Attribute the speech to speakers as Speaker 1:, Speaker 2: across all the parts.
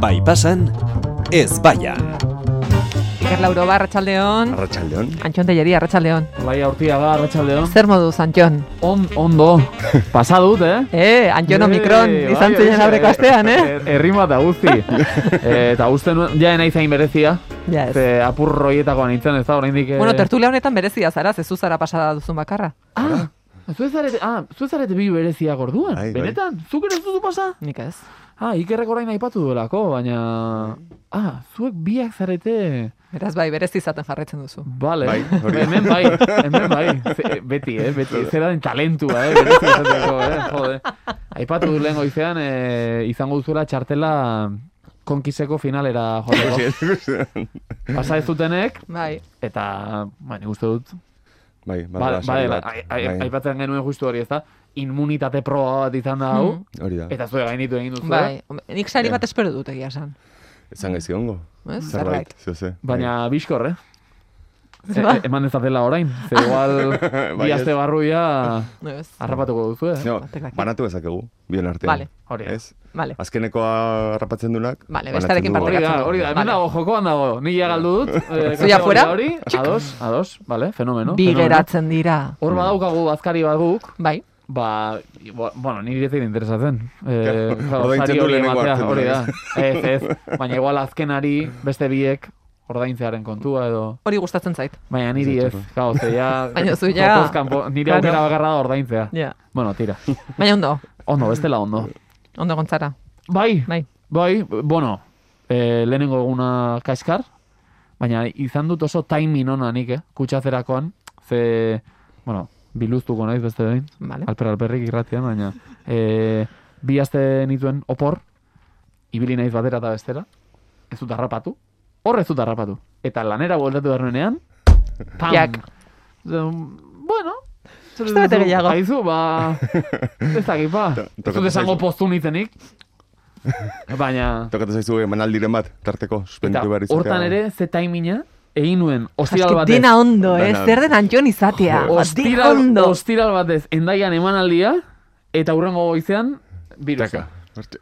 Speaker 1: Bai pasan, ez baian.
Speaker 2: Iker Lauro ba, Arratxaldeon.
Speaker 3: Arratxaldeon.
Speaker 2: Antxon Telleri, Arratxaldeon.
Speaker 4: Lai Bai, aurtia da, arratsaldeon.
Speaker 2: Zer moduz, Antxon?
Speaker 4: On, ondo. Pasa dut, eh? bai,
Speaker 2: Eh, Antxon Omikron, izan zinen aurreko astean, eh?
Speaker 4: Er, Errima eta guzti. Eh, Eta uste nuen, ja nahi zain berezia.
Speaker 2: Ja, ez.
Speaker 4: Bai, Ze apurro hietakoa nintzen, ez da, oraindik... eh,
Speaker 2: Bueno, tertulia honetan berezia zara, zezu zara pasada duzun bakarra.
Speaker 4: Ah, zuez zarete, ah, zuez zarete bi bereziak orduan.
Speaker 3: Bai, bai.
Speaker 4: Benetan, zuk ere ez duzu pasa?
Speaker 2: Nik ez.
Speaker 4: Ah, ikerrek orain aipatu duelako, baina... Ah, zuek biak zarete...
Speaker 2: Beraz bai, berezi izaten jarraitzen duzu.
Speaker 4: Bale,
Speaker 3: Bai, hori da.
Speaker 4: hemen bai, hemen bai, Ze- beti, eh, beti, zera den talentua, eh, berezi izateko, eh, jode. Aipatu du lehen goizean, eh, izango duzuela txartela konkiseko finalera jodeko. Pasa ez dutenek,
Speaker 2: Bai.
Speaker 4: eta, ba, nik uste dut,
Speaker 3: Bai,
Speaker 4: ba-
Speaker 3: badela sari
Speaker 4: badela,
Speaker 3: bat,
Speaker 4: ai- ai-
Speaker 3: bai,
Speaker 4: aipatzen genuen justu hori, ez da, inmunitate proba bat izan da hau,
Speaker 3: Hori da.
Speaker 4: eta zue gainitu egin duzu, eh?
Speaker 2: Bai, Hombre, nik sari
Speaker 3: Ja.
Speaker 2: bat espero dut egia esan.
Speaker 3: Ezan gaizki gongo.
Speaker 2: Ez?
Speaker 3: Zerbait.
Speaker 2: Zerbait.
Speaker 3: Zio ze. Bai.
Speaker 4: baina bizkor, eh? E,
Speaker 2: Ba.
Speaker 4: e- eman ez dela orain, ze igual,
Speaker 3: Bai,
Speaker 4: bi aste
Speaker 3: ez.
Speaker 4: barruia,
Speaker 2: Ez.
Speaker 4: harrapatuko duzu, eh?
Speaker 3: No,
Speaker 2: Batek daki.
Speaker 3: Bai. banatu ezakegu, bien artean.
Speaker 2: Vale.
Speaker 4: Hori da.
Speaker 3: Ez?
Speaker 4: Ba,
Speaker 2: Vale.
Speaker 3: Azkenekoa rapatzen dunak.
Speaker 2: Vale,
Speaker 3: banatzen
Speaker 2: bestarekin
Speaker 3: dugu.
Speaker 4: Hori
Speaker 2: partekatzen.
Speaker 4: da, hori da, hemen
Speaker 2: Vale.
Speaker 4: dago jokoan dago, ni ja galdu dut. Eh,
Speaker 2: Zuia
Speaker 4: kategoria
Speaker 2: fuera?
Speaker 4: Hori, ados, ados, vale, fenomeno.
Speaker 2: Bi
Speaker 4: fenomeno.
Speaker 2: geratzen dira.
Speaker 3: Mm.
Speaker 4: Hor badaukagu azkari bat guk,
Speaker 2: Bai.
Speaker 4: ba, i- bo- bueno, niri ez egin interesatzen. Eh,
Speaker 3: Claro, ordaintzen
Speaker 4: sari
Speaker 3: du
Speaker 4: hori
Speaker 3: lehenengo
Speaker 4: ematea,
Speaker 3: hartzen
Speaker 4: hori da.
Speaker 3: duena.
Speaker 4: Ez, ez, baina igual azkenari beste biek ordaintzearen kontua edo.
Speaker 2: Hori gustatzen zait.
Speaker 4: Baina niri ez, gau, ze ja...
Speaker 2: Baina zu ja-
Speaker 4: jokoz kanpo- nire
Speaker 2: Claro.
Speaker 4: aukera bakarra da ordaintzea.
Speaker 2: Ja.
Speaker 4: Bueno, tira.
Speaker 2: Baina ondo,
Speaker 4: Ondo, bestela ondo.
Speaker 2: ondo gontzara.
Speaker 4: Bai,
Speaker 2: Bai.
Speaker 4: Bai, bueno, e, lehenengo eguna kaskar, baina izan dut oso timing ona nik, eh? Kutsatzerakoan, ze, bueno, biluztuko naiz beste behin,
Speaker 2: Vale.
Speaker 4: alper alperrik irratian, baina e, bi aste nituen opor, ibili naiz batera eta bestera, ez dut harrapatu, hor ez dut harrapatu, eta lanera bueltatu behar nuenean, pam!
Speaker 2: Jak.
Speaker 4: Zen, Bueno, zer
Speaker 2: Beste bete
Speaker 4: duzu?
Speaker 2: gehiago.
Speaker 4: Aizu, ba... Ez dakit, ba. Ez
Speaker 3: tokatu
Speaker 4: dut esango
Speaker 3: zaizu.
Speaker 4: postu nitenik. Baina...
Speaker 3: Tokatu zaizu emanaldiren bat, tarteko,
Speaker 4: Eta
Speaker 3: suspenditu behar izatea.
Speaker 4: hortan ere, ze taimina, egin nuen, ostiral
Speaker 2: Aski
Speaker 4: batez.
Speaker 2: dena ondo, eh?
Speaker 3: Dena-
Speaker 2: Zer den Antxon izatea. Ba, Dena
Speaker 4: Ostiral,
Speaker 2: ondo.
Speaker 4: ostiral batez, endaian emanaldia, eta hurrengo goizean, virusa.
Speaker 3: Taka. Hortxe.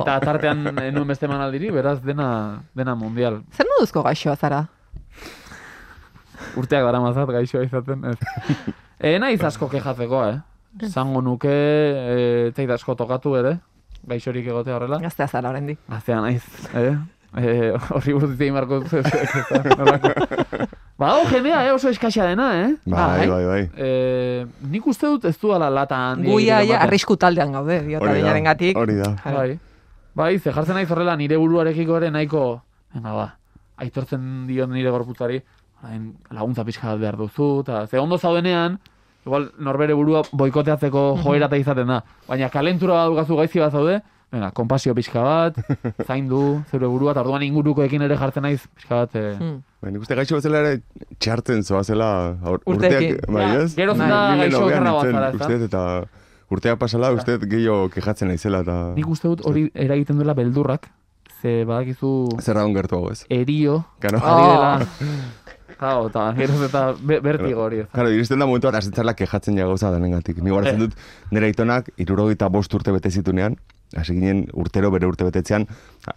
Speaker 4: Eta tartean eh, nuen beste emanaldiri, beraz, dena, dena mundial.
Speaker 2: Zer moduzko gaixoa zara?
Speaker 4: Urteak dara mazat, gaixoa izaten, ez. E, naiz asko kejatzekoa, eh? Zango nuke, e, zait asko tokatu ere, gaixorik egotea horrela.
Speaker 2: Gaztea zara oraindik.
Speaker 4: Gaztea naiz, eh? Eh, horri buruz hitz egin beharko eh, duzu. Badago jendea, eh, oso eskaxa dena, eh?
Speaker 3: Bai, bai, bai.
Speaker 4: Eh, nik uste dut ez duala lata handi.
Speaker 2: Guia ja arrisku taldean gaude,
Speaker 3: Hori da,
Speaker 2: diotarinaren gatik.
Speaker 3: Hori da.
Speaker 4: Bai, bai, ze jartzen naiz horrela nire buruarekiko ere nahiko, venga ba, aitortzen dion nire gorputzari, orain laguntza pixka bat behar duzu, eta ze ondo zaudenean, igual norbere burua boikoteatzeko joera eta izaten da, baina kalentura bat dukazu gaizki bat zaude, venga, kompasio pixka bat, zaindu, zeure burua, eta orduan ingurukoekin ere jartzen naiz, pixka bat, eh,
Speaker 2: Hmm.
Speaker 3: Bai, nik uste gaixo bezala ere txartzen zoazela aur-
Speaker 2: Urteekin.
Speaker 3: urteak, bai,
Speaker 4: Ja,
Speaker 3: ez?
Speaker 4: geroz
Speaker 3: Ni-
Speaker 4: eta
Speaker 3: ni
Speaker 4: gaixo
Speaker 3: lehenago
Speaker 4: okerragoa
Speaker 3: nintzen,
Speaker 4: zara, ez da?
Speaker 3: uste dut, eta urteak pasala, uste dut gehiago kejatzen naizela eta
Speaker 4: nik uste dut hori eragiten duela beldurrak, ze badakizu
Speaker 3: zer daun gertuago, ez?
Speaker 4: erio,
Speaker 3: Kano,
Speaker 2: Ah.
Speaker 4: ari dela, Claro, eta geroz eta be- bertigo hori, ez da.
Speaker 3: Claro, iristen da momentu bat, asetzarla kejatzen ja gauza denengatik. Ni guardatzen
Speaker 2: Eh.
Speaker 3: dut, nire aitonak, irurogeita bost urte bete zitunean, hasi ginen urtero bere urte betetzean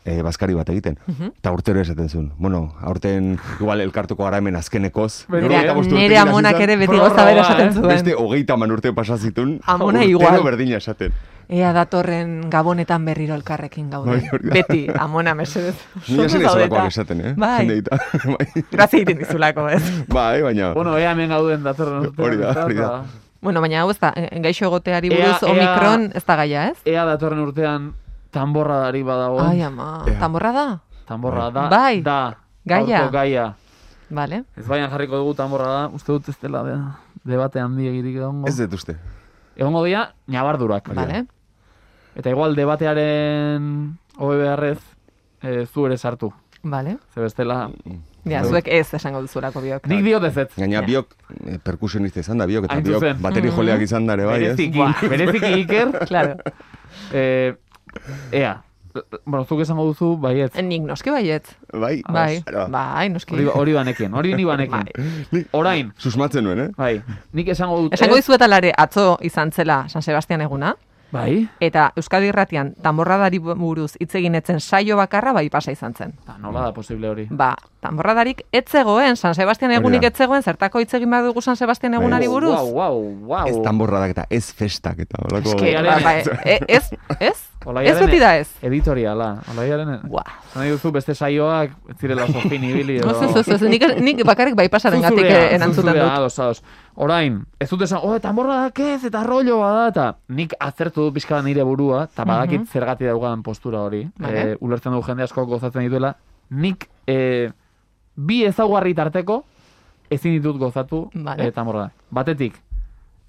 Speaker 3: e, bazkari bat egiten.
Speaker 2: Mhm.
Speaker 3: Eta urtero esaten zuen. Bueno, aurten igual elkartuko gara hemen azkenekoz.
Speaker 4: Bere-
Speaker 2: Nere,
Speaker 3: 75 urtekin
Speaker 2: nere
Speaker 3: hasi
Speaker 2: amonak
Speaker 3: zen,
Speaker 2: ere beti
Speaker 4: prorroga,
Speaker 2: goza bera esaten
Speaker 4: eh?
Speaker 2: zuen.
Speaker 3: Beste hogeita man urte pasa zitun,
Speaker 2: Amona
Speaker 3: urtero
Speaker 2: igual.
Speaker 3: berdina esaten.
Speaker 2: Ea datorren gabonetan berriro elkarrekin gaude.
Speaker 3: Bai, hori da.
Speaker 2: Beti, amona mesedez.
Speaker 3: Ni
Speaker 2: Oso
Speaker 3: jasen
Speaker 2: zaudeta.
Speaker 3: izolakoak esaten, eh?
Speaker 2: Bai,
Speaker 3: Jendeita. bai,
Speaker 2: grazia egiten dizulako, ez.
Speaker 3: bai, baina...
Speaker 4: Bueno, ea hemen gauden datorren urtean.
Speaker 3: Hori da,
Speaker 4: eta-
Speaker 3: hori da.
Speaker 2: Bueno, baina hau ez da, eh, gaixo egoteari
Speaker 4: Ea-
Speaker 2: buruz
Speaker 4: ea-
Speaker 2: omikron ez da gaia, ez?
Speaker 4: Ea datorren urtean tamborradari badago.
Speaker 2: Ai, ama,
Speaker 3: Ea.
Speaker 2: tamborra da?
Speaker 4: Tamborra da.
Speaker 2: Bai.
Speaker 4: Da.
Speaker 2: Gaia.
Speaker 4: Gaurko gaia.
Speaker 2: Bale.
Speaker 4: Ez baian jarriko dugu tamborra da. Uste dut ez dela de, debate handi egirik egongo.
Speaker 3: Ez dut uste.
Speaker 4: Egongo dira nabardurak.
Speaker 2: Bale.
Speaker 4: Eta igual debatearen hobe beharrez e, zu ere sartu.
Speaker 2: Bale.
Speaker 4: Ze bestela.
Speaker 2: Ja, zuek ez esango duzulako biok.
Speaker 4: Nik diot ez ez.
Speaker 3: Gaina
Speaker 2: Ja.
Speaker 3: biok eh, perkusionista izan da, biok, eta
Speaker 4: Hain
Speaker 3: biok
Speaker 4: zuzen.
Speaker 3: bateri
Speaker 2: Mhm.
Speaker 3: joleak izan dare, bai, ez?
Speaker 4: Bereziki, bereziki iker.
Speaker 2: Claro.
Speaker 4: E, ea. Bueno, zuk esango duzu, bai, baietz.
Speaker 2: Nik noski baiet.
Speaker 3: Bai,
Speaker 2: Bai,
Speaker 3: Ara.
Speaker 2: bai, noski.
Speaker 4: Hori, hori banekien, hori ni banekien. Orain,
Speaker 3: Susmatzen nuen, eh?
Speaker 4: bai, nik esango dut eh?
Speaker 2: Esango
Speaker 4: ez.
Speaker 2: dizuet alare atzo izan zela San Sebastian eguna.
Speaker 4: Bai?
Speaker 2: Eta Euskadi Irratian tamborradari buruz hitz egin etzen saio bakarra bai pasa izan zen.
Speaker 4: Eta nola da posible hori?
Speaker 2: Ba, tamborradarik etzegoen, San Sebastian
Speaker 3: Hori da.
Speaker 2: egunik etzegoen, zertako hitz egin behar dugu San Sebastian
Speaker 3: Bai.
Speaker 2: egunari
Speaker 3: Wow,
Speaker 2: buruz.
Speaker 4: Wow, wow, wow.
Speaker 3: Ez tamborradak eta ez festak eta holako...
Speaker 2: Eske, ba,
Speaker 4: Olaiaren-
Speaker 2: ba, e- ez, ez, ez
Speaker 4: Olaiaren-
Speaker 2: beti da ez.
Speaker 4: Editoriala. Olaiaren...
Speaker 2: Buah.
Speaker 4: Zan nahi duzu beste saioak, ez zirela sofin ibili edo...
Speaker 2: Ez, ez, ez, ez, nik, nik bakarrik baipasaren gatik
Speaker 4: Zuzurea,
Speaker 2: erantzuten
Speaker 4: zuzurea,
Speaker 2: dut.
Speaker 4: ados, ados. Orain, ez dut esan, oh, tamborra dakez, eta rolloa da, eta nik atzertu dut pixka bat nire burua, eta badakit zergatik daugadan postura hori.
Speaker 2: Vale.
Speaker 4: Eh, ulertzen dugu jende asko gozatzen dituela. Nik eh, bi ezaugarri tarteko ezin ditut gozatu
Speaker 2: Vale.
Speaker 4: eh, tamborra. Batetik,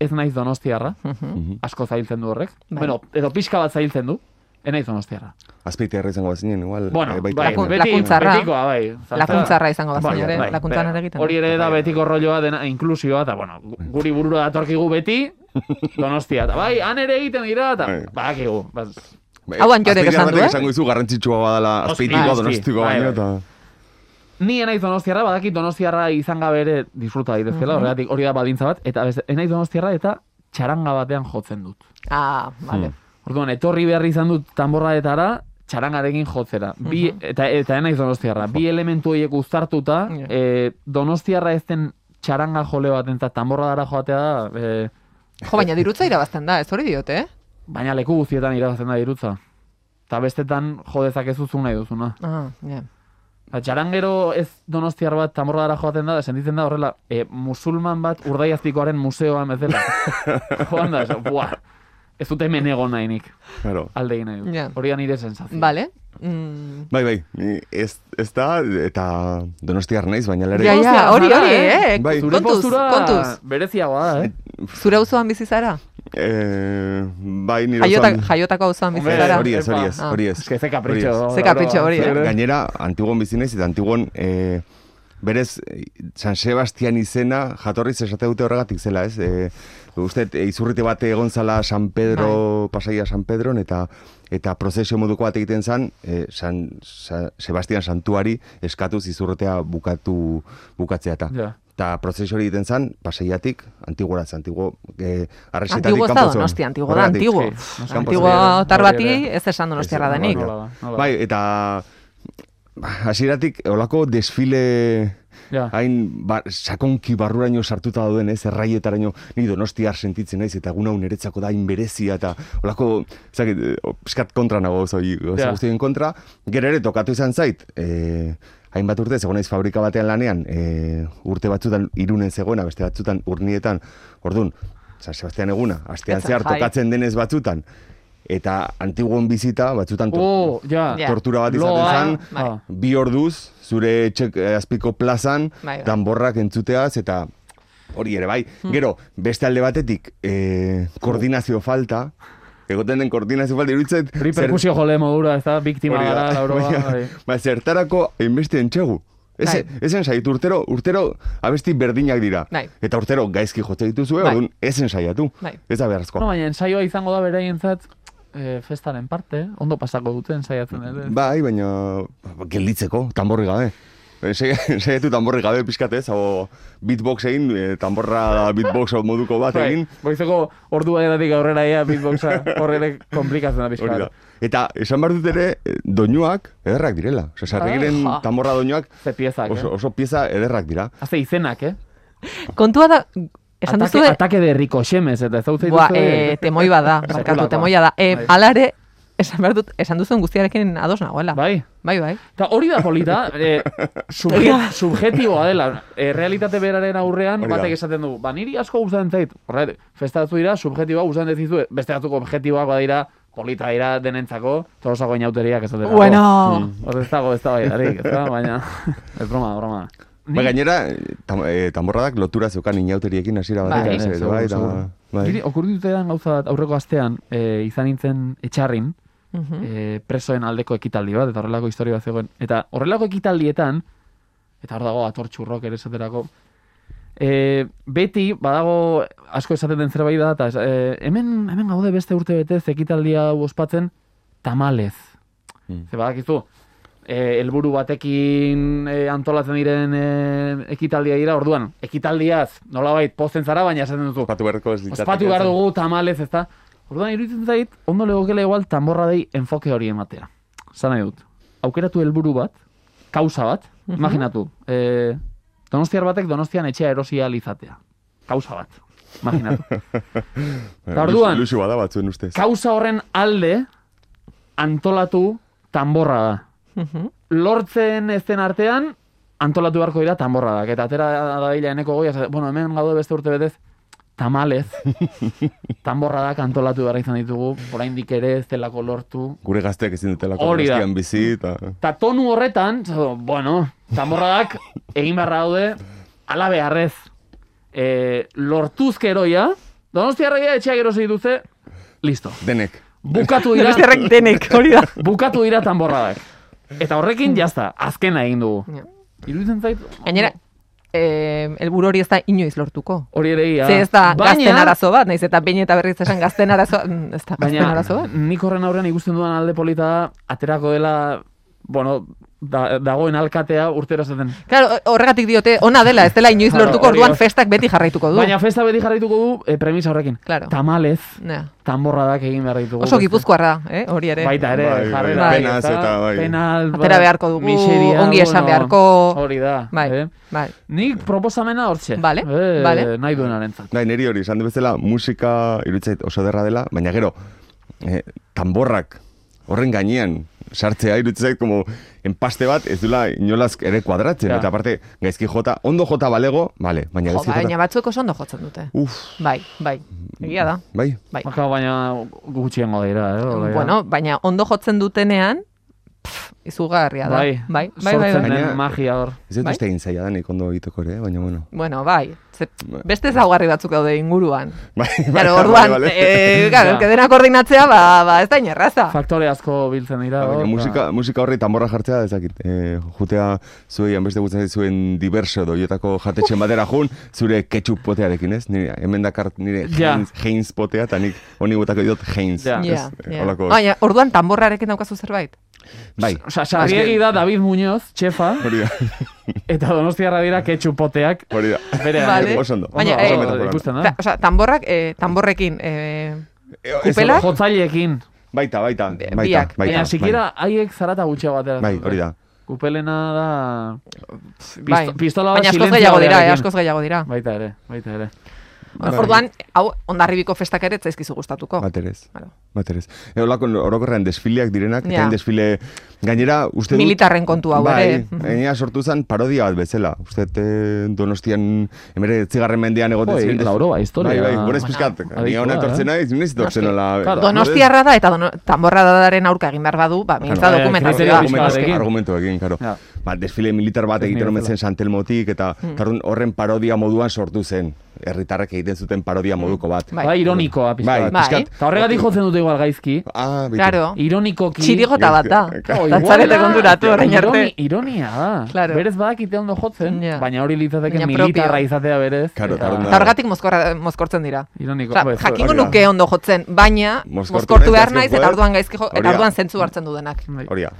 Speaker 4: ez naiz donostiarra,
Speaker 3: Mhm.
Speaker 4: asko zailtzen du horrek.
Speaker 2: Bai.
Speaker 4: Bueno, edo pixka bat zailtzen du, ez naiz donostiarra.
Speaker 3: Azpeitia izango bazinen, igual...
Speaker 4: Bueno,
Speaker 3: eh, baita
Speaker 4: bai,
Speaker 3: ere.
Speaker 2: Lakun-
Speaker 4: beti,
Speaker 2: lakuntzarra.
Speaker 4: betikoa, bai. Zaltza-
Speaker 2: Lakuntzarra izango
Speaker 4: Bai,
Speaker 2: bazen ere,
Speaker 4: bai,
Speaker 2: lakuntzan
Speaker 4: bai.
Speaker 2: ere egiten.
Speaker 4: Hori
Speaker 2: dut.
Speaker 4: ere da betiko rolloa dena inklusioa, eta bueno, gu- guri burura datorkigu beti, donostia. Eta bai, han ere egiten dira, eta
Speaker 3: Bai.
Speaker 4: badakigu. Bas,
Speaker 3: Bai,
Speaker 2: Hauan jorek
Speaker 3: Azpeitia
Speaker 2: esan du,
Speaker 3: batek
Speaker 2: eh?
Speaker 3: esango izu garrantzitsua badala
Speaker 4: Oski,
Speaker 3: azpeitikoa
Speaker 4: oski,
Speaker 3: donostikoa
Speaker 4: bai, bai.
Speaker 3: baino eta...
Speaker 4: Ni enaiz donostiarra, badakit donostiarra izan gabe ere disfruta daitezkela, horregatik hori da badintza bat, eta beste, enaiz donostiarra eta txaranga batean jotzen dut.
Speaker 2: Ah, vale.
Speaker 4: Hmm. Orduan, etorri behar izan dut tamborradetara, txarangarekin jotzera. Bi,
Speaker 2: Mhm.
Speaker 4: eta, eta enaiz donostiarra. Bi elementu horiek uztartuta,
Speaker 2: Ja.
Speaker 4: eh, donostiarra ezten txaranga jole bat entzat tamborradara joatea da, eh,
Speaker 3: Hmm.
Speaker 2: Jo, baina dirutza irabazten da, ez hori diote, eh?
Speaker 4: Baina leku guztietan irabazten da dirutza. Eta bestetan jodezak ez duzu nahi duzuna.
Speaker 2: Ah, ja.
Speaker 4: Eta txarangero ez donostiar bat tamorradara joaten da, da sentitzen da horrela, e, musulman bat urdaiaztikoaren museoan bezala. Joan da, esan, buah, ez dut hemen egon nahi nik,
Speaker 3: Claro.
Speaker 4: alde egin nahi dut.
Speaker 2: Ja. Bai,
Speaker 4: Hori da nire sensazio.
Speaker 2: Vale. Mm.
Speaker 3: Bai, bai, ni ez, ez da, eta donostiar naiz, baina lere...
Speaker 2: Ja, ja,
Speaker 4: Donostiarra
Speaker 2: hori,
Speaker 4: zara,
Speaker 2: hori,
Speaker 4: eh?
Speaker 2: eh?
Speaker 3: Bai.
Speaker 4: Zure
Speaker 2: Kontuz,
Speaker 4: postura
Speaker 2: kontuz.
Speaker 4: bereziagoa da, eh?
Speaker 2: Zure auzoan bizi zara?
Speaker 3: Eh, bai, nire
Speaker 2: Jaiota,
Speaker 3: osan-
Speaker 2: jaiotako auzoan bizi
Speaker 4: Hombre,
Speaker 2: zara?
Speaker 3: Hori ez, hori ez,
Speaker 2: Ah.
Speaker 3: hori ez.
Speaker 4: Ez que ze
Speaker 3: Hori ez.
Speaker 4: kapritxo.
Speaker 2: Ze kapritxo hori, eh?
Speaker 3: Gainera, antiguan bizi naiz, eta antiguan... Eh, Berez, eh, San Sebastian izena jatorriz esate dute horregatik zela, ez? E, uste, eh, izurrite bate egon zala San
Speaker 2: Bai.
Speaker 3: Pedro, pasaia San Pedron, eta eta prozesio moduko bat egiten zan, eh, San, Sa- Sebastian Santuari eskatuz izurritea bukatu, bukatzea eta.
Speaker 4: Ja.
Speaker 3: Eta prozesio hori egiten zan, paseiatik, antigora, antiguo, eh, arrexetatik
Speaker 2: Antiguo ez da
Speaker 3: kanpo zuen.
Speaker 2: donosti, antiguo da,
Speaker 3: Horregatik.
Speaker 2: antiguo.
Speaker 4: Sí, noski.
Speaker 2: Antiguo
Speaker 4: Kanpo
Speaker 2: tar
Speaker 4: zeuden.
Speaker 2: bati ez esan donostiarra
Speaker 3: Ez,
Speaker 2: denik.
Speaker 3: nola
Speaker 4: da, nola da.
Speaker 3: Bai, eta ba, hasieratik olako desfile
Speaker 4: Ja.
Speaker 3: hain ba, sakonki barruraino sartuta dauden ez erraietaraino ni donostiar sentitzen naiz eta egun hau niretzako da hain berezia eta olako zakit, eh, o, pixkat kontra nago oso hi- oso
Speaker 4: Ja.
Speaker 3: guztien kontra gero ere tokatu izan zait eh, hainbat urte zegoen naiz fabrika batean lanean eh, urte batzutan irunen zegoena beste batzutan urnietan ordun San Sebastian eguna, astean
Speaker 2: Ez zen
Speaker 3: zehar
Speaker 2: jai.
Speaker 3: tokatzen denez batzutan, eta antiguon bizita batzutan to-
Speaker 4: Oh, ja.
Speaker 2: Ja.
Speaker 3: tortura bat
Speaker 4: Loa,
Speaker 3: izaten
Speaker 2: bai.
Speaker 4: Ah.
Speaker 3: zen, bi orduz, zure txek, eh, azpiko plazan,
Speaker 2: Bai, Hmm. bai.
Speaker 3: danborrak entzuteaz, eta hori ere, bai. Gero, beste alde batetik, eh, koordinazio falta, egoten den koordinazio falta, iruditzen...
Speaker 4: Hori perkusio jole modura, ez da, biktima
Speaker 3: hori da,
Speaker 4: gara, lauroa.
Speaker 3: baina-
Speaker 4: bai.
Speaker 3: Ba, zertarako hainbeste entxegu. Ese,
Speaker 2: Bai.
Speaker 3: esen saiatu, urtero, urtero abesti berdinak dira.
Speaker 2: Bai.
Speaker 3: Eta urtero gaizki jote dituzue,
Speaker 2: Bai.
Speaker 3: orduan esen saiatu.
Speaker 2: Bai.
Speaker 3: Ez da beharrezko.
Speaker 4: Bueno, baina ensaioa izango da beraientzat eh, festaren parte, ondo pasako dute ensaiatzen eh? ere.
Speaker 3: Bai, baina gelditzeko, tamborri gabe. Eh, se- Saiatu tamborri gabe pixkatez, hau beatbox egin, eh, tamborra beatbox moduko bat
Speaker 4: Bai,
Speaker 3: egin.
Speaker 4: Goizeko ordu baietatik aurrera ea beatboxa horrele komplikatzen da pixka.
Speaker 3: Hori da.
Speaker 4: bat.
Speaker 3: Eta esan behar dut ere, eh, doinuak ederrak direla. Osea, sarregiren
Speaker 2: Ah, ja.
Speaker 3: tamborra doinuak
Speaker 4: Ze piezak,
Speaker 3: oso,
Speaker 4: eh?
Speaker 3: oso pieza ederrak dira.
Speaker 4: Haze izenak, eh?
Speaker 2: Kontua da, esan
Speaker 4: Atake,
Speaker 2: duzu,
Speaker 4: atake de Rico Xemes, eta ez dute
Speaker 2: Boa, e, temoi bada, barkatu,
Speaker 4: Sekulakoa.
Speaker 2: temoia da. E,
Speaker 4: Bai.
Speaker 2: alare, esan behar dut, esan duzuen guztiarekin ados nagoela.
Speaker 4: Bai.
Speaker 2: bai. bai.
Speaker 4: Eta hori da polita, e, subje, subjetiboa dela. E, realitate beraren aurrean,
Speaker 3: Hori da.
Speaker 4: batek esaten du, ba niri asko gustatzen zait, horret, festatu dira, subjetiboa gustatzen dizu, beste batzuk objektiboak badira, polita dira denentzako, tolosago inauteriak ez dutela.
Speaker 2: Bueno,
Speaker 4: Hor ez dago, ez da bailarik, ez da, baina... ez broma, broma.
Speaker 3: Ba, gainera, eh, tam, eh, tamborradak lotura zeukan inauteriekin hasiera bat.
Speaker 2: Bai.
Speaker 3: bai,
Speaker 4: Seguro,
Speaker 3: bai, eta-
Speaker 4: seguro. Niri
Speaker 3: bai.
Speaker 4: okurritu zitzaidan gauza bat aurreko astean e, izan nintzen etxarrin, e, presoen aldeko ekitaldi bat, eta horrelako historia bat zegoen. Eta horrelako ekitaldietan, eta hor dago atortxurrok ere esaterako, e, beti, badago asko esaten den zerbait da, eta e, hemen, hemen gaude beste urte betez ekitaldia hau ospatzen tamalez.
Speaker 3: Mm.
Speaker 4: Ze badakizu, eh, helburu batekin eh, antolatzen diren eh, ekitaldia dira, orduan, ekitaldiaz, nolabait, posten zara, baina esaten duzu,
Speaker 3: Ospatu beharko ez litzateke.
Speaker 4: Ospatu behar dugu tamalez, ezta? Orduan iruditzen zait, ondo legokela igual tamborradei enfoke hori ematea. Zan nahi dut. Aukeratu helburu bat, kausa bat, imaginatu. E, donostiar batek donostian etxea erosia izatea. Kausa bat, imaginatu. Eta orduan-
Speaker 3: Luxu bada batzuen ustez.
Speaker 4: Kausa horren alde antolatu tamborra da. Lortzen ez den artean antolatu beharko dira tamborra da. Eta atera dadila eneko goia, esate, bueno, hemen gaude beste urte betez, tamalez, tamborradak antolatu behar izan ditugu, oraindik ere ez delako lortu.
Speaker 3: Gure gazteak ezin dutelako
Speaker 4: Hori da.
Speaker 3: gaztian bizi, eta...
Speaker 4: Ta tonu horretan, zo, bueno, tamborradak egin beharra daude, ala beharrez. E, lortuzkeroia, donostiarreia etxeak erosi dute, listo.
Speaker 3: Denek.
Speaker 4: Bukatu dira.
Speaker 2: Donostiarrak denek, hori da.
Speaker 4: Bukatu dira tanborradak. Eta horrekin jazta, azkena egin dugu.
Speaker 2: Ja.
Speaker 4: Iruditzen zait...
Speaker 2: Gainera, eh, elburu hori ez da inoiz lortuko.
Speaker 4: Hori ere ia.
Speaker 2: Ze ez da
Speaker 4: Baina-
Speaker 2: gazten arazo bat, naiz eta behin eta berriz esan gazten arazo, mm, ez da gazten
Speaker 4: Baina,
Speaker 2: arazo bat.
Speaker 4: nik horren aurrean ikusten dudan alde polita da, aterako dela, bueno, da, dagoen alkatea urtero zaten.
Speaker 2: Claro, horregatik diote, ona dela, ez dela inoiz
Speaker 4: Claro,
Speaker 2: lortuko,
Speaker 4: hori
Speaker 2: orduan
Speaker 4: da.
Speaker 2: festak beti jarraituko du.
Speaker 4: Baina festa beti jarraituko du eh, premisa horrekin.
Speaker 2: Claro.
Speaker 4: Tamalez,
Speaker 2: Ja.
Speaker 4: tanborradak egin behar ditugu.
Speaker 2: Oso gipuzkoarra da, eh, hori ere.
Speaker 4: Oh, Baita ere,
Speaker 3: Bai, bai,
Speaker 4: jarrera.
Speaker 2: bai.
Speaker 4: hori,
Speaker 3: Penaz
Speaker 4: ezta?
Speaker 3: eta bai.
Speaker 4: Penal,
Speaker 2: Atera
Speaker 4: bai,
Speaker 2: beharko dugu,
Speaker 4: miseria,
Speaker 2: ongi esan
Speaker 4: bueno,
Speaker 2: beharko.
Speaker 4: Hori da.
Speaker 2: Bai,
Speaker 4: eh?
Speaker 2: bai.
Speaker 4: Nik proposamena hortxe.
Speaker 2: Vale,
Speaker 4: eh,
Speaker 2: vale.
Speaker 4: Nahi duenarentzat.
Speaker 3: Bai, niri hori, esan du bezala, musika irutzait oso derra dela, baina gero, eh, tamborrak horren gainean sartzea irutzait, como enpaste bat, ez dula inolaz ere kuadratzen,
Speaker 4: Ja.
Speaker 3: eta aparte, gaizki jota, ondo jota balego, bale, baina
Speaker 2: Jo,
Speaker 3: gaizki jota,
Speaker 2: baina batzuek oso ondo jotzen dute.
Speaker 3: uf,
Speaker 2: Bai, bai, egia da.
Speaker 3: bai,
Speaker 2: Bai.
Speaker 4: Baka, baina gutxiengo dira, eh? hori da.
Speaker 2: Bueno, baina ondo jotzen dutenean, pff, izugarria da.
Speaker 4: Bai.
Speaker 2: bai, bai, bai,
Speaker 4: Sortzen
Speaker 2: bai.
Speaker 4: den
Speaker 3: Baina-
Speaker 4: magia hor.
Speaker 3: ez dut
Speaker 2: Bai.
Speaker 3: uste egin zaila danik ondo egiteko ere, eh, baina bueno.
Speaker 2: Bueno, bai. Ze,
Speaker 3: Bai.
Speaker 2: beste zaugarri batzuk daude inguruan.
Speaker 3: Bai,
Speaker 2: Claro, orduan, eh, claro,
Speaker 4: Ja.
Speaker 2: eske dena koordinatzea, ba, ba, ez da inerraza.
Speaker 4: Faktore asko biltzen dira.
Speaker 3: Baina
Speaker 4: hor, ba,
Speaker 3: musika,
Speaker 4: eta-
Speaker 3: musika horri tamborra jartzea dezakit. E, jutea zuei hanbeste gutzen zuen diverso doietako jatetxen batera jun, zure ketchup potearekin, ez? Nire, hemen dakart nire
Speaker 4: Ja.
Speaker 3: Heinz, Heinz potea, eta nik honi gutako diot Heinz.
Speaker 4: Ja.
Speaker 3: ez?
Speaker 2: Ja,
Speaker 3: Eh,
Speaker 2: ja.
Speaker 3: Holako,
Speaker 2: Baina, orduan tamborrarekin daukazu zerbait.
Speaker 3: bai,
Speaker 4: Osa, sarriegi da David Muñoz, txefa,
Speaker 3: hori da,
Speaker 4: eta donostiarra dira ketxupoteak
Speaker 3: hori da.
Speaker 4: bere.
Speaker 2: Vale.
Speaker 3: Oso ondo,
Speaker 2: Baina,
Speaker 3: oso
Speaker 2: eh,
Speaker 3: metafora.
Speaker 4: ikusten da.
Speaker 2: Ta, osa, tamborrak, eh, tamborrekin, eh,
Speaker 3: Eh, ez,
Speaker 2: kupelak?
Speaker 4: Jotzailekin.
Speaker 3: Baita, baita,
Speaker 2: Bi-
Speaker 3: baita,
Speaker 2: biak.
Speaker 3: baita.
Speaker 4: Baina,
Speaker 3: bai.
Speaker 4: sikira, haiek zarata gutxea batera.
Speaker 3: Bai, hori da.
Speaker 4: eh? Kupelena da... Pisto,
Speaker 2: bai.
Speaker 4: Pistola bat
Speaker 2: baina askoz
Speaker 4: silentzio
Speaker 2: gehiago dira, eh,
Speaker 4: batearekin.
Speaker 2: askoz gehiago dira.
Speaker 4: Baita ere, baita ere.
Speaker 2: Orduan, hau, ondarribiko festak ere ez zaizkizu gustatuko.
Speaker 3: Baterez.
Speaker 2: Claro.
Speaker 3: Baterez. E, holako orokorrean desfileak direnak,
Speaker 2: Ja.
Speaker 3: eta hain desfile gainera uste dut...
Speaker 2: Militarren kontu hau
Speaker 3: bai,
Speaker 2: ere. Mhm.
Speaker 3: gainera sortu zen parodia bat bezala. Uste dut, eh, donostian, emere, zigarren mendean egoten
Speaker 4: Joi,
Speaker 3: ziren desfi-
Speaker 4: Lauro, ba, historia.
Speaker 3: Bai, bai, gure pizkat.
Speaker 4: Bueno,
Speaker 3: Ni hona
Speaker 4: adikua, eh?
Speaker 3: etortzen naiz, ni ez etortzen
Speaker 2: Noski.
Speaker 3: nola...
Speaker 4: Claro,
Speaker 2: Donostiarra da eta dono, tamborradaren aurka egin behar badu, ba, mintza
Speaker 4: Claro,
Speaker 3: eh,
Speaker 4: bai,
Speaker 2: dokumentatu
Speaker 4: kriterio
Speaker 2: da.
Speaker 4: pixka bat.
Speaker 3: Argumentoekin,
Speaker 4: pixkatzekin.
Speaker 3: argumentoekin, karo.
Speaker 4: Ja.
Speaker 3: Ba, desfile militar bat
Speaker 4: Ez
Speaker 3: egiten
Speaker 4: nire
Speaker 3: omen zen Santelmotik, eta
Speaker 2: Mm.
Speaker 3: tarun horren parodia moduan sortu zen. Herritarrek egiten zuten parodia moduko bat.
Speaker 2: Bai.
Speaker 4: Bai, ironikoa
Speaker 3: Bai,
Speaker 4: pizkat.
Speaker 2: Bai.
Speaker 3: pixkat.
Speaker 4: Eta horregatik jotzen dute igual gaizki.
Speaker 3: Ah, bitu.
Speaker 2: Claro.
Speaker 4: Ironikoki.
Speaker 2: Txirigota bat da.
Speaker 4: Oh,
Speaker 2: Eta
Speaker 4: igual
Speaker 2: zarete
Speaker 4: da.
Speaker 2: konturatu orain arte.
Speaker 4: Ironi- Ironia da.
Speaker 2: Claro.
Speaker 4: Berez badakite ondo jotzen,
Speaker 2: Ja.
Speaker 4: baina hori litzateke
Speaker 2: Baina
Speaker 4: militarra
Speaker 2: propio.
Speaker 4: izatea berez.
Speaker 3: Claro,
Speaker 4: eta-
Speaker 3: tarun
Speaker 2: Eta horregatik mozkorra- mozkortzen dira.
Speaker 4: Ironiko. pues,
Speaker 2: Osa,
Speaker 4: bai, zue-
Speaker 2: jakingo
Speaker 3: hori da.
Speaker 2: nuke ondo jotzen, baina
Speaker 3: Mozkortu
Speaker 2: mozkortu
Speaker 3: naiz,
Speaker 2: behar
Speaker 3: ez
Speaker 2: naiz
Speaker 3: dut
Speaker 2: eta
Speaker 3: behar.
Speaker 2: orduan gaizki jo,
Speaker 3: Hori
Speaker 2: eta
Speaker 3: da.
Speaker 2: orduan zentzu hartzen dudenak.
Speaker 4: Bai,
Speaker 3: Hori da,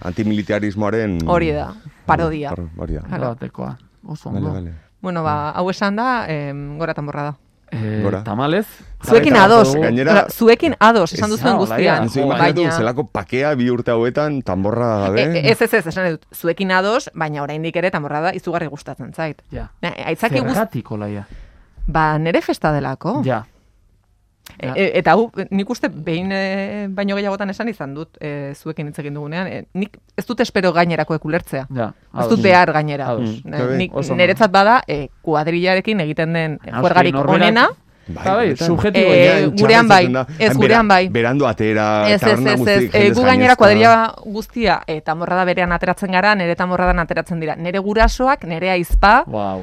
Speaker 3: antimilitarismoaren...
Speaker 2: Hori da, parodia.
Speaker 3: Hori da.
Speaker 4: Hala batekoa. Oso
Speaker 3: Vale,
Speaker 4: ondo.
Speaker 3: vale.
Speaker 2: Bueno,
Speaker 4: Bai.
Speaker 2: ba, hau esan da, em, gora tamborra da.
Speaker 4: Eh,
Speaker 3: Gora.
Speaker 4: Tamalez.
Speaker 2: Zuekin
Speaker 4: jarraituko
Speaker 2: ados,
Speaker 4: dugu.
Speaker 3: Gainera-
Speaker 2: Ola, zuekin ados, esan
Speaker 3: Ez-
Speaker 2: duzuen
Speaker 4: Ah, olaia.
Speaker 2: guztian.
Speaker 4: Ez-
Speaker 3: Zu imaginatu
Speaker 2: Baina-
Speaker 3: zelako pakea bi urte hauetan, tamborra gabe.
Speaker 2: E- e- Ez, ez, ez, esan dut, zuekin ados, baina oraindik ere tamborra da izugarri gustatzen zait.
Speaker 4: Ja.
Speaker 2: Na, Aitzaki guz,
Speaker 4: Zergatik, olaia.
Speaker 2: ba, nere festa delako.
Speaker 4: Ja.
Speaker 2: E- e- eta hau, nik uste behin e, baino gehiagotan esan izan dut, e, zuekin hitz egin dugunean, e, nik ez dut espero gainerako ekulertzea.
Speaker 4: Ja.
Speaker 2: Ez dut behar gainera.
Speaker 4: Ados.
Speaker 2: Ne-
Speaker 3: Eta bai,
Speaker 2: Nik
Speaker 4: oso ondo.
Speaker 2: niretzat bada, e, kuadrillarekin egiten den
Speaker 4: Noski,
Speaker 2: juergarik
Speaker 4: norberak-
Speaker 2: onena,
Speaker 3: Bai,
Speaker 4: Ba, bai,
Speaker 3: benetan.
Speaker 4: subjektiboa,
Speaker 2: Eh,
Speaker 4: ja.
Speaker 3: Baina
Speaker 2: gurean
Speaker 3: txarra
Speaker 2: bai,
Speaker 3: izaten da.
Speaker 2: ez,
Speaker 3: Han
Speaker 2: gurean
Speaker 3: bera-
Speaker 2: bai.
Speaker 3: Berandu atera,
Speaker 2: Ez, ez,
Speaker 3: taberna
Speaker 2: ez, ez,
Speaker 3: guztiak,
Speaker 2: e,
Speaker 3: jendez
Speaker 2: gu gainera
Speaker 3: gainezka.
Speaker 2: kuadrilla guztia eta morrada berean ateratzen gara, nire eta morradan ateratzen dira. Nere gurasoak, nere aizpa,
Speaker 4: Wow.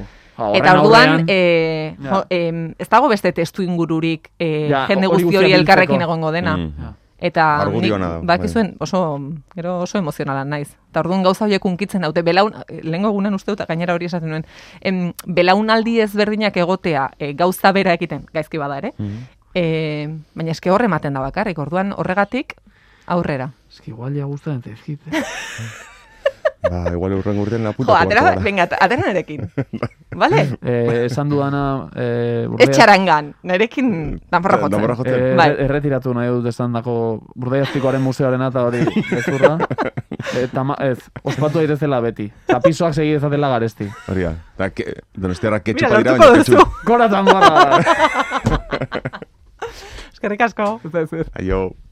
Speaker 2: eta orduan e,
Speaker 4: Ja.
Speaker 2: jo, em, ez dago beste testu ingururik e,
Speaker 4: Ja,
Speaker 2: jende guzti
Speaker 4: hori guztia
Speaker 2: hori
Speaker 4: biltzeko.
Speaker 2: elkarrekin egongo dena.
Speaker 3: Mm.
Speaker 2: Eta
Speaker 3: Argudio
Speaker 2: nik
Speaker 3: ona da, bai.
Speaker 2: bakizuen oso, gero oso emozionala naiz. Eta orduan gauza horiek unkitzen daute, belaun, lehenko egunen uste dut, gainera hori esaten nuen, em, belaunaldi ezberdinak egotea e, gauza bera ekiten, gaizki bada ere,
Speaker 3: Mhm.
Speaker 2: e, baina eske horre ematen da bakarrik, orduan horregatik aurrera.
Speaker 4: Ez que igual ja guztan eta ezkit.
Speaker 3: Ba, igual urren urtean
Speaker 2: Jo,
Speaker 3: naputa.
Speaker 2: atera, venga, atera nerekin. Bale?
Speaker 4: Eh, esan dudana... Eh, burdea-
Speaker 2: Etxarangan, nerekin nafarra jotzen.
Speaker 3: Nafarra jotzen.
Speaker 4: Eh,
Speaker 2: Bai.
Speaker 4: erre- Erretiratu nahi dut esan dako Burdeaztikoaren museoaren eta hori ezurra. Eh, tama, ez, ospatu daitezela beti. Eta pisoak segi dezatela garesti.
Speaker 3: Hori da. Da, ke- donostiarrak
Speaker 2: Mira,
Speaker 3: ketxupa dira,
Speaker 2: lortuko
Speaker 3: baina
Speaker 2: duzu.
Speaker 3: ketxup.
Speaker 4: Gora tan barra!
Speaker 2: Eskerrik asko.
Speaker 3: Aio.